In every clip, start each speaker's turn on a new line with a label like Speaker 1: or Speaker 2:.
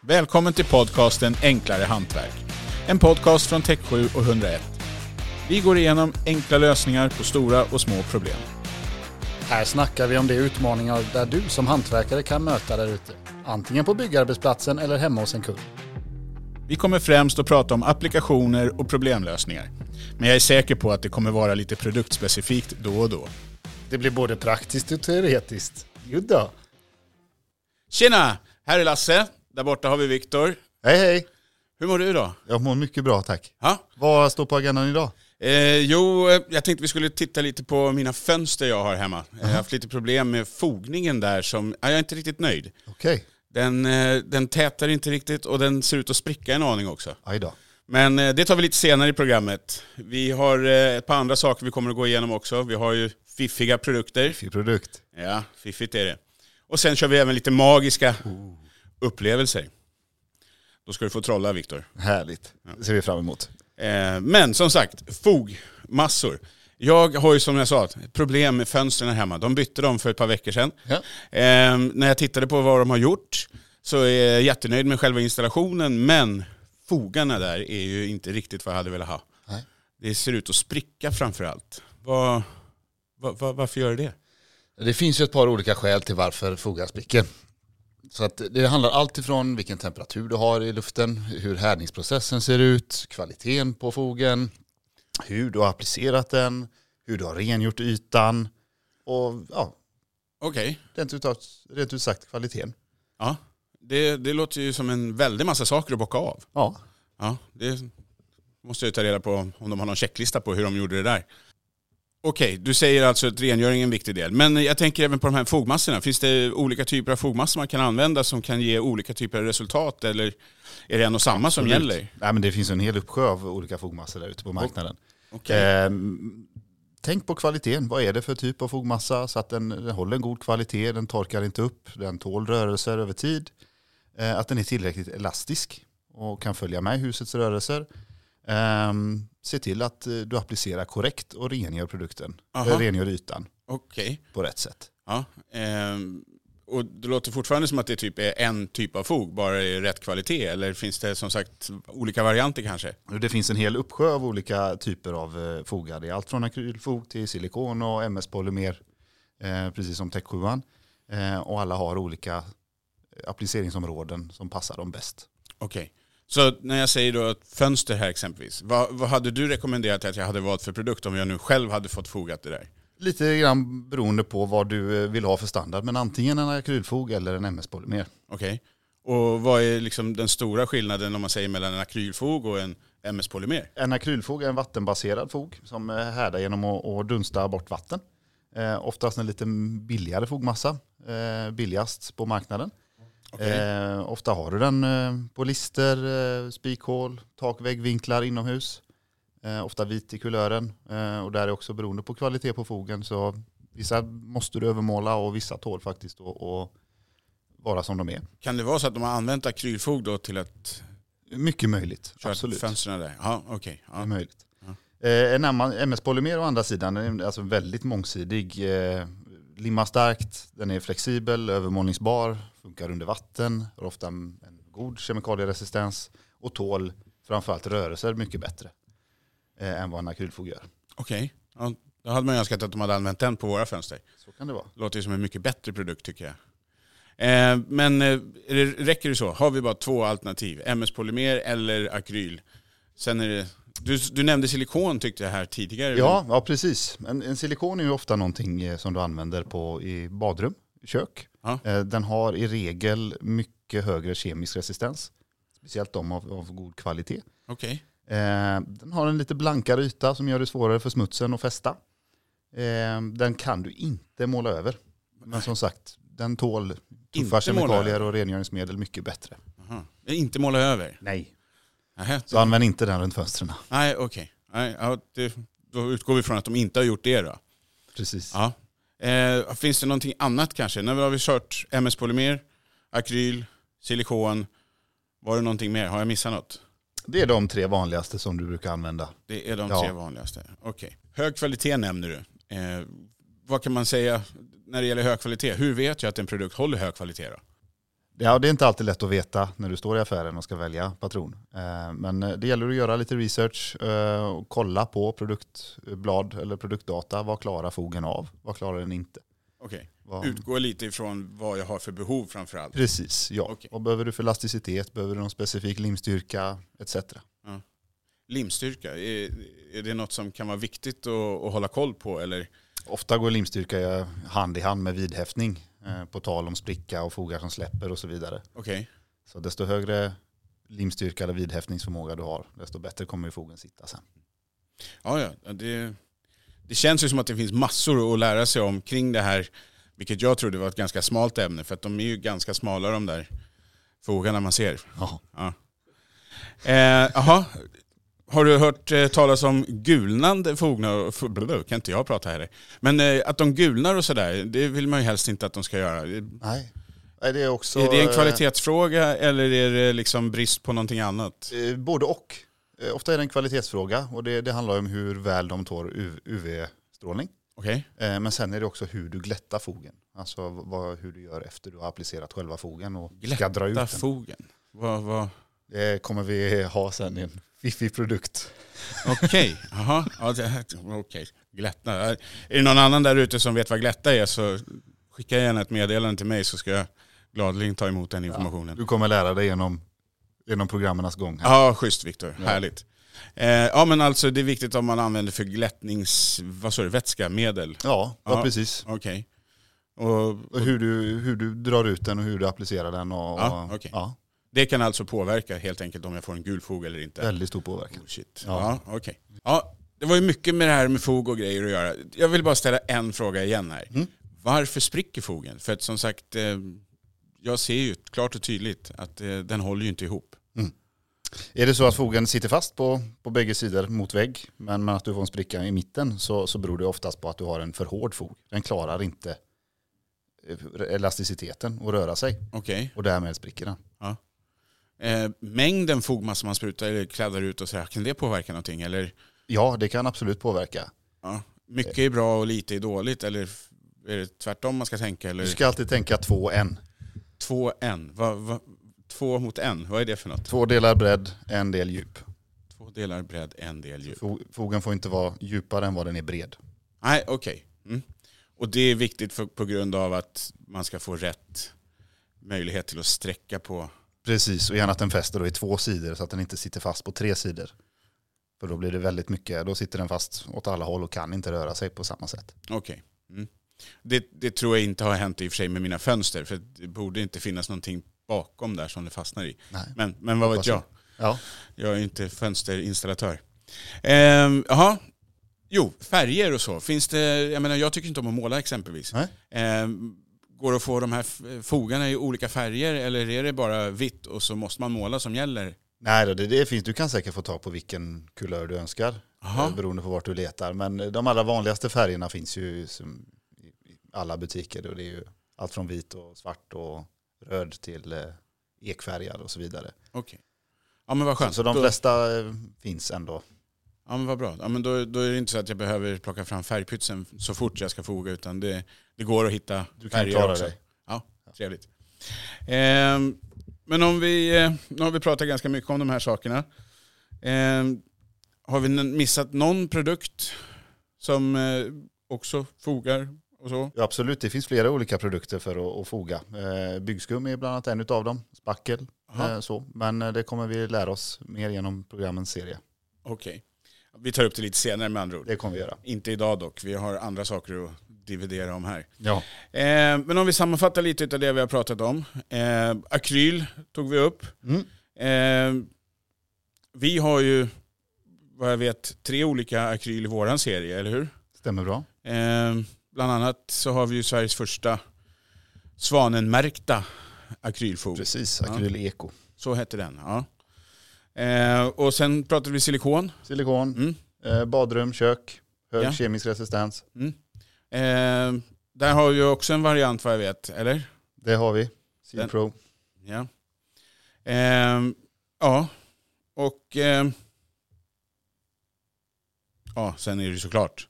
Speaker 1: Välkommen till podcasten Enklare Hantverk. En podcast från Tech7 och 101. Vi går igenom enkla lösningar på stora och små problem.
Speaker 2: Här snackar vi om de utmaningar där du som hantverkare kan möta där ute. Antingen på byggarbetsplatsen eller hemma hos en kund.
Speaker 1: Vi kommer främst att prata om applikationer och problemlösningar. Men jag är säker på att det kommer vara lite produktspecifikt då och då.
Speaker 2: Det blir både praktiskt och teoretiskt. Jodå.
Speaker 1: Tjena! Här är Lasse. Där borta har vi Viktor.
Speaker 3: Hej hej!
Speaker 1: Hur mår du idag?
Speaker 3: Jag mår mycket bra tack.
Speaker 1: Ha?
Speaker 3: Vad står på agendan idag?
Speaker 1: Eh, jo, eh, jag tänkte vi skulle titta lite på mina fönster jag har hemma. Jag har haft lite problem med fogningen där som, ja, jag är inte riktigt nöjd.
Speaker 3: Okej, okay.
Speaker 1: Den, eh, den tätar inte riktigt och den ser ut att spricka en aning också.
Speaker 3: aj då.
Speaker 1: Men eh, det tar vi lite senare i programmet. Vi har eh, ett par andra saker vi kommer att gå igenom också. Vi har ju fiffiga produkter.
Speaker 3: Fin produkt.
Speaker 1: Ja, fiffigt är det. Och sen kör vi även lite magiska upplevelser. Då ska du få trolla Viktor.
Speaker 3: Härligt. Det ser vi fram emot.
Speaker 1: Eh, men som sagt, fogmassor. Jag har ju som jag sa ett problem med fönstren här hemma. De bytte dem för ett par veckor sedan.
Speaker 3: Ja.
Speaker 1: Eh, när jag tittade på vad de har gjort så är jag jättenöjd med själva installationen men fogarna där är ju inte riktigt vad jag hade velat ha.
Speaker 3: Nej.
Speaker 1: Det ser ut att spricka framförallt. Var, var, var, varför gör det det?
Speaker 3: Det finns ju ett par olika skäl till varför fogar spricker. Så att det handlar allt ifrån vilken temperatur du har i luften, hur härdningsprocessen ser ut, kvaliteten på fogen, hur du har applicerat den, hur du har rengjort ytan och ja,
Speaker 1: Okej,
Speaker 3: rent ut, rent ut sagt kvaliteten.
Speaker 1: ja. Det, det låter ju som en väldig massa saker att bocka av.
Speaker 3: Ja,
Speaker 1: Ja, det måste jag ta reda på om de har någon checklista på hur de gjorde det där. Okej, du säger alltså att rengöring är en viktig del. Men jag tänker även på de här fogmassorna. Finns det olika typer av fogmassor man kan använda som kan ge olika typer av resultat? Eller är det en och samma som
Speaker 3: Absolut.
Speaker 1: gäller?
Speaker 3: Nej, men det finns ju en hel uppsjö av olika fogmassor där ute på marknaden.
Speaker 1: Okej.
Speaker 3: Ehm, tänk på kvaliteten. Vad är det för typ av fogmassa? Så att den, den håller en god kvalitet, den torkar inte upp, den tål rörelser över tid. Eh, att den är tillräckligt elastisk och kan följa med husets rörelser. Ehm, se till att eh, du applicerar korrekt och rengör produkten.
Speaker 1: Aha.
Speaker 3: Eller rengör ytan
Speaker 1: Okej.
Speaker 3: på rätt sätt.
Speaker 1: Ja. ehm, och det låter fortfarande som att det typ är en typ av fog, bara i rätt kvalitet. Eller finns det som sagt olika varianter kanske?
Speaker 3: Och Det finns en hel uppsjö av olika typer av eh, fogar. Det är allt från akrylfog till silikon och MS-polymer, eh, precis som Tech 7 eh, Och alla har olika eh, appliceringsområden som passar dem bäst.
Speaker 1: Okej. Så när jag säger då att fönster här exempelvis, vad, vad hade du rekommenderat att jag hade valt för produkt om jag nu själv hade fått fogat det där?
Speaker 3: Lite grann beroende på vad du eh, vill ha för standard, men antingen en akrylfog eller en MS-polymer.
Speaker 1: Okej. Och vad är liksom den stora skillnaden om man säger mellan en akrylfog och en MS-polymer?
Speaker 3: En akrylfog är en vattenbaserad fog som eh, härdar genom att, att dunsta bort vatten. Eh, oftast en lite billigare fogmassa, eh, billigast på marknaden.
Speaker 1: Okej.
Speaker 3: Eh, ofta har du den eh, på lister, eh, spikhål, takväggvinklar inomhus. Eh, ofta vit i kulören eh, och där är också beroende på kvalitet på fogen. Så vissa måste du övermåla och vissa tål faktiskt då att vara som de är.
Speaker 1: Kan det vara så att de har använt akrylfog då till att
Speaker 3: Mycket möjligt.
Speaker 1: köra
Speaker 3: absolut.
Speaker 1: fönstren där? Ja, okej.
Speaker 3: Det är
Speaker 1: Ja.
Speaker 3: möjligt. Eh, en annan MS-polymer å andra sidan är en- alltså väldigt mångsidig. Eh, limmar starkt, den är flexibel, övermålningsbar, funkar under vatten, har ofta en en god kemikalieresistens och tål framförallt rörelser mycket bättre eh, än vad en akrylfog gör.
Speaker 1: Okej. Ja, då hade man ju önskat att de hade använt den på våra fönster.
Speaker 3: Så kan det vara.
Speaker 1: Låter ju som en mycket bättre produkt tycker jag. Eh, men eh, är det, räcker det så? Har vi bara två alternativ? MS-polymer eller akryl? Sen är det, du, du nämnde silikon tyckte jag här tidigare.
Speaker 3: Ja, ja precis. En, en silikon är ju ofta någonting eh, som du använder på, i badrum, kök.
Speaker 1: Ja.
Speaker 3: Eh, Den har i regel mycket högre kemisk resistens, speciellt de av, av god kvalitet.
Speaker 1: Men- Okej.
Speaker 3: Eh, Den har en lite blankare yta som gör det svårare för smutsen att fästa. Eh, Den kan du inte måla över. Men som sagt, den tål tuffa
Speaker 1: Inte måla
Speaker 3: kemikalier och rengöringsmedel mycket bättre.
Speaker 1: Aha. Inte måla över?
Speaker 3: Nej.
Speaker 1: Nähä.
Speaker 3: Så använd inte den runt fönstren.
Speaker 1: Nej, okej. Nej, ja, det- då utgår vi från att de inte har gjort det då.
Speaker 3: Precis.
Speaker 1: Ja. Eh, finns det någonting annat kanske? När har vi kört MS-polymer, akryl, silikon? Var det någonting mer? Har jag missat något?
Speaker 3: Det är de tre vanligaste som du brukar använda.
Speaker 1: Det är de
Speaker 3: Ja.
Speaker 1: tre vanligaste. Okej. Hög kvalitet nämner du. Eh, vad kan man säga när det gäller hög kvalitet? Hur vet jag att en produkt håller hög kvalitet då?
Speaker 3: Ja, det är inte alltid lätt att veta när du står i affären och ska välja patron. Eh, Men det gäller att göra lite research eh, och kolla på produktblad eller produktdata. Vad klarar fogen av? Vad klarar den inte?
Speaker 1: Okej.
Speaker 3: Vad...
Speaker 1: Utgå lite ifrån vad jag har för behov framför allt.
Speaker 3: Precis, ja.
Speaker 1: Okej.
Speaker 3: Vad behöver du för elasticitet? Behöver du någon specifik limstyrka etc.
Speaker 1: Limstyrka, är, är det något som kan vara viktigt att, att hålla koll på? Eller?
Speaker 3: Ofta går limstyrka hand i hand med vidhäftning. eh, På tal om spricka och fogar som släpper och så vidare.
Speaker 1: Okej.
Speaker 3: Så desto högre limstyrka eller vidhäftningsförmåga du har, desto bättre kommer ju fogen sitta sen.
Speaker 1: Ja, ja. ja, Det, det känns ju som att det finns massor att lära sig om kring det här. Vilket jag trodde var ett ganska smalt ämne. För att de är ju ganska smala de där fogarna man ser.
Speaker 3: Ja.
Speaker 1: Eh, Jaha. Har du hört eh, talas om gulnande fognar? f- blablabla, Kan inte jag prata heller. Men eh, att de gulnar och sådär, det vill man ju helst inte att de ska göra.
Speaker 3: Nej. Nej, det är också...
Speaker 1: är det en
Speaker 3: eh,
Speaker 1: kvalitetsfråga eller är det liksom brist på någonting annat?
Speaker 3: Eh, både och. Eh, ofta är det en kvalitetsfråga och det, det handlar om hur väl de tål U- UV-strålning.
Speaker 1: Okej.
Speaker 3: Eh, men sen är det också hur du glättar fogen. Alltså vad, hur du gör efter du har applicerat själva fogen och ska dra ut
Speaker 1: Där
Speaker 3: den.
Speaker 1: fogen. Vad, vad?
Speaker 3: Det kommer vi ha sen i en fiffig produkt.
Speaker 1: Okej, jaha. Ja, det- Okej, glätta. Är det någon annan där ute som vet vad glätta är så skicka gärna ett meddelande till mig så ska jag gladeligen ta emot den informationen.
Speaker 3: Du kommer lära dig genom, genom programmernas gång. Här.
Speaker 1: Ja, schysst Viktor. Härligt. Eh, ja, men alltså det är viktigt om man använder förglättnings... Vad sa du? Vätska? Medel?
Speaker 3: Ja, ja,
Speaker 1: Ja.
Speaker 3: precis.
Speaker 1: Okej. Och
Speaker 3: Och hur, du, hur du drar ut den och hur du applicerar den. Och,
Speaker 1: Ja,
Speaker 3: och-
Speaker 1: okej.
Speaker 3: ja,
Speaker 1: det kan alltså påverka helt enkelt om jag får en gul fog eller inte?
Speaker 3: väldigt stor påverkan.
Speaker 1: Bullshit. Oh, Ja,
Speaker 3: Ja.
Speaker 1: okej. Ja, det var ju mycket med det här med fog och grejer att göra. Jag vill bara ställa en fråga igen här.
Speaker 3: Mm.
Speaker 1: Varför spricker fogen? För att som sagt, eh, jag ser ju klart och tydligt att eh, den håller ju inte ihop.
Speaker 3: Är det så att fogen sitter fast på, på bägge sidor mot vägg, men men att du får en spricka i mitten så, så beror det oftast på att du har en för hård fog. Den klarar inte eh, elasticiteten att röra sig
Speaker 1: Okej.
Speaker 3: och därmed spricker den.
Speaker 1: Eh, mängden fogmassa man sprutar eller kladdar ut och så här, kan det påverka någonting? Eller
Speaker 3: Ja, det kan absolut påverka.
Speaker 1: ja, mycket är bra och lite är dåligt? Eller f- är det tvärtom man ska tänka? Eller
Speaker 3: Du ska alltid tänka två en.
Speaker 1: två en? Va, va, två mot en, vad är det för något?
Speaker 3: Två delar bredd, en del djup.
Speaker 1: Två delar bredd, en del djup.
Speaker 3: Fo- Fogen får inte vara djupare än vad den är bred.
Speaker 1: Nej, okej. Mm. Och det är viktigt för, på grund av att man ska få rätt möjlighet till att sträcka på.
Speaker 3: Precis, och gärna att den fäster då i två sidor så att den inte sitter fast på tre sidor. För då blir det väldigt mycket, då sitter den fast åt alla håll och kan inte röra sig på samma sätt.
Speaker 1: Okej. Mm. Det, det tror jag inte har hänt i och för sig med mina fönster, för det borde inte finnas någonting bakom där som det fastnar i.
Speaker 3: Nej.
Speaker 1: Men, men vad vet
Speaker 3: Hoppas jag.
Speaker 1: jag?
Speaker 3: Ja.
Speaker 1: Jag är ju inte fönsterinstallatör. Ehm, Jaha. jo, färger och så. Finns det, jag menar jag tycker inte om att måla exempelvis.
Speaker 3: Nej.
Speaker 1: Ehm, går det att få de här f- fogarna i olika färger eller är det bara vitt och så måste man måla som gäller?
Speaker 3: Nej, då, det, det finns. Du kan säkert få tag på vilken kulör du önskar.
Speaker 1: Jaha.
Speaker 3: eh, Beroende på vart du letar. Men de allra vanligaste färgerna finns ju som i i alla butiker. Och det är ju allt från vit och svart och röd till eh, ekfärgad och så vidare.
Speaker 1: Okej. Ja men vad
Speaker 3: Så,
Speaker 1: skönt.
Speaker 3: så de
Speaker 1: Då-
Speaker 3: flesta eh, finns ändå.
Speaker 1: Ja men vad bra. Ja, men då, då är det inte så att jag behöver plocka fram färgpytsen så fort jag ska foga utan det, det går att hitta
Speaker 3: Du kan
Speaker 1: färger
Speaker 3: klara
Speaker 1: också.
Speaker 3: dig.
Speaker 1: Ja, trevligt. Ehm, men om vi, eh, nu har vi pratat ganska mycket om de här sakerna. Ehm, har vi n- missat någon produkt som eh, också fogar och så?
Speaker 3: Ja, absolut, det finns flera olika produkter för att, att foga. Eh, byggskum är bland annat en av dem. Spackel.
Speaker 1: Jaha,
Speaker 3: Eh, så. Men eh, det kommer vi lära oss mer genom programmens serie.
Speaker 1: Okej. Vi tar upp det lite senare med andra ord.
Speaker 3: Det kommer vi göra.
Speaker 1: Inte idag dock, vi har andra saker att dividera om här.
Speaker 3: Ja.
Speaker 1: Eh, men om vi sammanfattar lite av det vi har pratat om. Eh, akryl tog vi upp.
Speaker 3: Mm.
Speaker 1: Eh, vi har ju, vad jag vet, tre olika akryl i våran serie, eller hur?
Speaker 3: Stämmer bra.
Speaker 1: Eh, bland annat så har vi ju Sveriges första svanenmärkta akrylfog.
Speaker 3: Precis,
Speaker 1: Oh. Ja.
Speaker 3: akryl eko.
Speaker 1: Så hette den, ja. Eh, och sen pratade vi silikon.
Speaker 3: Silikon.
Speaker 1: Mm.
Speaker 3: Eh, badrum, kök, hög
Speaker 1: Ja.
Speaker 3: kemisk resistens.
Speaker 1: Eh, där har vi också en variant vad jag vet, eller?
Speaker 3: Det har vi.
Speaker 1: Den-
Speaker 3: Silpro.
Speaker 1: Ja. Ehm, ja, och... ehm, ja, sen är det ju såklart.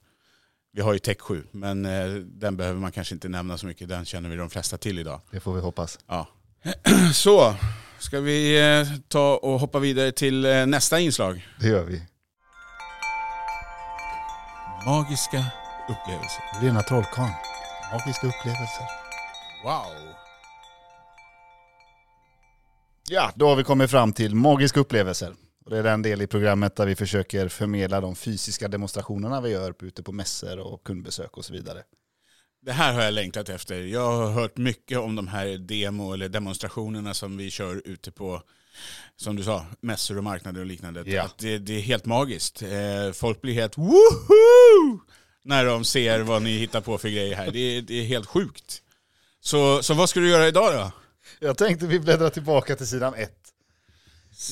Speaker 1: Vi har ju Tech 7, men eh, den behöver man kanske inte nämna så mycket. Den känner vi de flesta till idag.
Speaker 3: Det får vi hoppas.
Speaker 1: Ja. Så, ska vi eh, ta och hoppa vidare till eh, nästa inslag?
Speaker 3: Det gör vi.
Speaker 1: Magiska upplevelser.
Speaker 3: Lena Trollkarlen. Magiska upplevelser.
Speaker 1: Wow.
Speaker 3: Ja, då har vi kommit fram till magiska upplevelser. Och Det är den del i programmet där vi försöker förmedla de fysiska demonstrationerna vi gör ute på mässor och kundbesök och så vidare.
Speaker 1: Det här har jag längtat efter. Jag har hört mycket om de här demo eller demonstrationerna som vi kör ute på, som du sa, mässor och marknader och liknande.
Speaker 3: Ja.
Speaker 1: Att det, det är helt magiskt. Eh, Folk blir helt woho! När de ser vad ni hittar på för grejer här. Det är, det är helt sjukt. Så, så vad ska du göra idag då?
Speaker 3: Jag tänkte vi bläddrar tillbaka till sidan ett.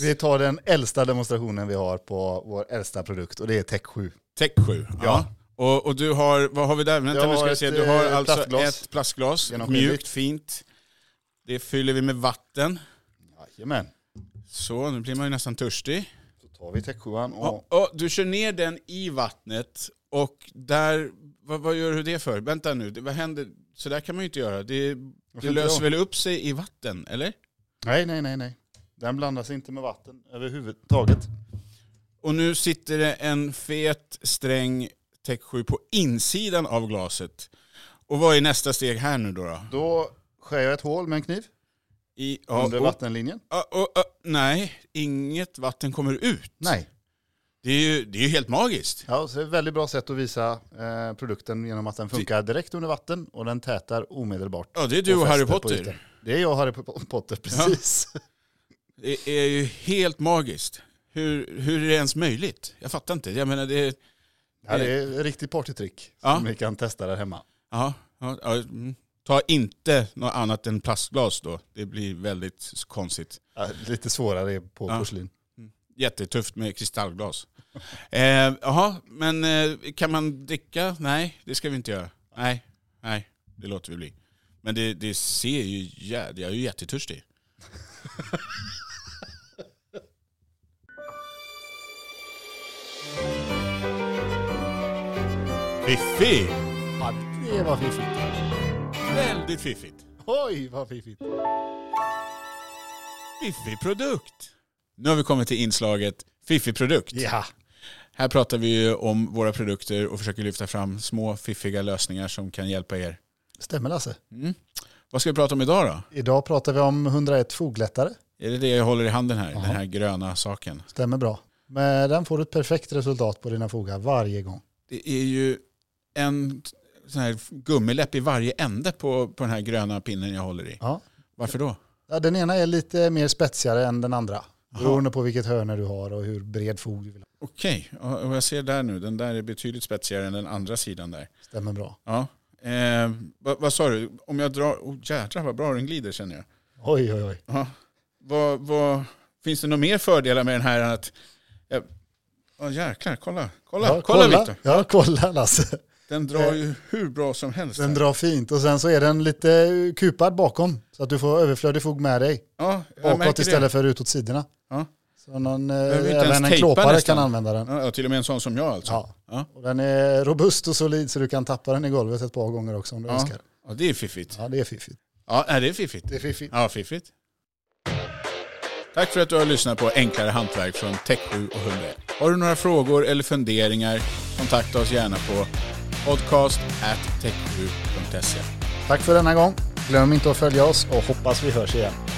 Speaker 3: Vi tar den äldsta demonstrationen vi har på vår äldsta produkt och det är Tech 7.
Speaker 1: Tech 7. Ja. Och, och du har, vad har vi där? Vänta,
Speaker 3: Jag
Speaker 1: nu ska
Speaker 3: har
Speaker 1: jag se.
Speaker 3: ett,
Speaker 1: Du har
Speaker 3: eh,
Speaker 1: alltså
Speaker 3: plastglas.
Speaker 1: ett plastglas,
Speaker 3: Genomskinligt.
Speaker 1: mjukt, fint. Det fyller vi med vatten.
Speaker 3: Jajamän.
Speaker 1: Så, nu blir man ju nästan törstig.
Speaker 3: Så tar vi Tech 7 an och
Speaker 1: Ja. ja, du kör ner den i vattnet och där, vad, vad gör du det för? Vänta nu, det, vad händer? Så där kan man ju inte göra. Det, det
Speaker 3: inte
Speaker 1: löser
Speaker 3: då?
Speaker 1: väl upp sig i vatten, eller?
Speaker 3: Nej, nej, nej, nej. Den blandas inte med vatten överhuvudtaget.
Speaker 1: Och nu sitter det en fet sträng Tech 7 på insidan av glaset. Och vad är nästa steg här nu då? då?
Speaker 3: Då skär jag ett hål med en kniv
Speaker 1: I, ja,
Speaker 3: under
Speaker 1: och-
Speaker 3: vattenlinjen.
Speaker 1: ja, och- ja, nej, inget vatten kommer ut.
Speaker 3: Nej.
Speaker 1: Det är ju, det är ju helt magiskt.
Speaker 3: Ja, så det är ett väldigt bra sätt att visa eh, produkten genom att den funkar direkt under vatten och den tätar omedelbart.
Speaker 1: Ja, det är du och,
Speaker 3: Och
Speaker 1: Harry
Speaker 3: fäster på ytan.
Speaker 1: Potter.
Speaker 3: Det är jag och Harry Po- Potter, precis.
Speaker 1: Det är ju helt magiskt. Hur, hur är det ens möjligt? Jag fattar inte. Jag menar, det är...
Speaker 3: Ja. Det är ett riktigt partytrick
Speaker 1: Ja.
Speaker 3: som ni kan testa där hemma.
Speaker 1: Ja, ja, ja, mm. Ta inte något annat än plastglas då. Det blir väldigt konstigt.
Speaker 3: Ja, lite svårare på
Speaker 1: Ja.
Speaker 3: porslin.
Speaker 1: Jättetufft med kristallglas. Eh, Jaha, men eh, kan man dricka? Nej, det ska vi inte göra. Nej, nej, det låter vi bli. Men det, det ser ju jävligt... Jag är ju jättetörstig. Fiffi!
Speaker 3: Ja, det var fiffigt.
Speaker 1: Väldigt fiffigt.
Speaker 3: Oj, vad fiffigt.
Speaker 1: Fiffig produkt. Nu har vi kommit till inslaget Fiffig produkt.
Speaker 3: Ja,
Speaker 1: Här pratar vi ju om våra produkter och försöker lyfta fram små fiffiga lösningar som kan hjälpa er.
Speaker 3: stämmer Lasse.
Speaker 1: Vad ska vi prata om idag då?
Speaker 3: Idag pratar vi om 101 foglättare.
Speaker 1: Är det det jag håller i handen här? Den här gröna saken.
Speaker 3: Stämmer bra. Med den får du ett perfekt resultat på dina fogar varje gång.
Speaker 1: Det är ju en sån här gummiläpp i varje ände på, på den här gröna pinnen jag håller i.
Speaker 3: Ja.
Speaker 1: Varför då?
Speaker 3: Ja, den ena är lite mer spetsigare än den andra. Beroende på vilket hörne du har och hur bred fog du vill ha.
Speaker 1: Okej, och och jag ser där nu, den där är betydligt spetsigare än den andra sidan där.
Speaker 3: Stämmer bra.
Speaker 1: Ja. Eh, vad, vad sa du? Om jag drar, oh, jädrar vad bra den glider känner jag.
Speaker 3: Oj, oj, oj.
Speaker 1: Ja. Vad, vad, finns det några mer fördelar med den här än att... Ja, oh, jäklar, kolla. Kolla,
Speaker 3: Ja,
Speaker 1: kolla, Victor.
Speaker 3: Ja, kolla Lasse.
Speaker 1: Den drar ju hur bra som helst.
Speaker 3: Den
Speaker 1: här.
Speaker 3: drar fint och sen så är den lite kupad bakom. Så att du får överflödig fog med dig.
Speaker 1: ja, jag märker
Speaker 3: Bakåt
Speaker 1: det.
Speaker 3: istället för utåt sidorna.
Speaker 1: Ja.
Speaker 3: Så någon, eh,
Speaker 1: vi inte ens
Speaker 3: även en
Speaker 1: tejpa
Speaker 3: klåpare
Speaker 1: nästan.
Speaker 3: kan använda den.
Speaker 1: Ja, till och med en sån som jag alltså.
Speaker 3: Ja.
Speaker 1: Ja.
Speaker 3: Och den är robust och solid så du kan tappa den i golvet ett par gånger också om du
Speaker 1: Ja.
Speaker 3: önskar.
Speaker 1: ja, det är fiffigt.
Speaker 3: Ja, det är fiffigt.
Speaker 1: Ja, nej, det är fiffigt.
Speaker 3: Det är fiffigt.
Speaker 1: Ja, fiffigt. Tack för att du har lyssnat på Enklare Hantverk från Tech7 och 101. Har du några frågor eller funderingar, kontakta oss gärna på podcast at tech7.se.
Speaker 3: Tack för denna gång. Glöm inte att följa oss och hoppas vi hörs igen.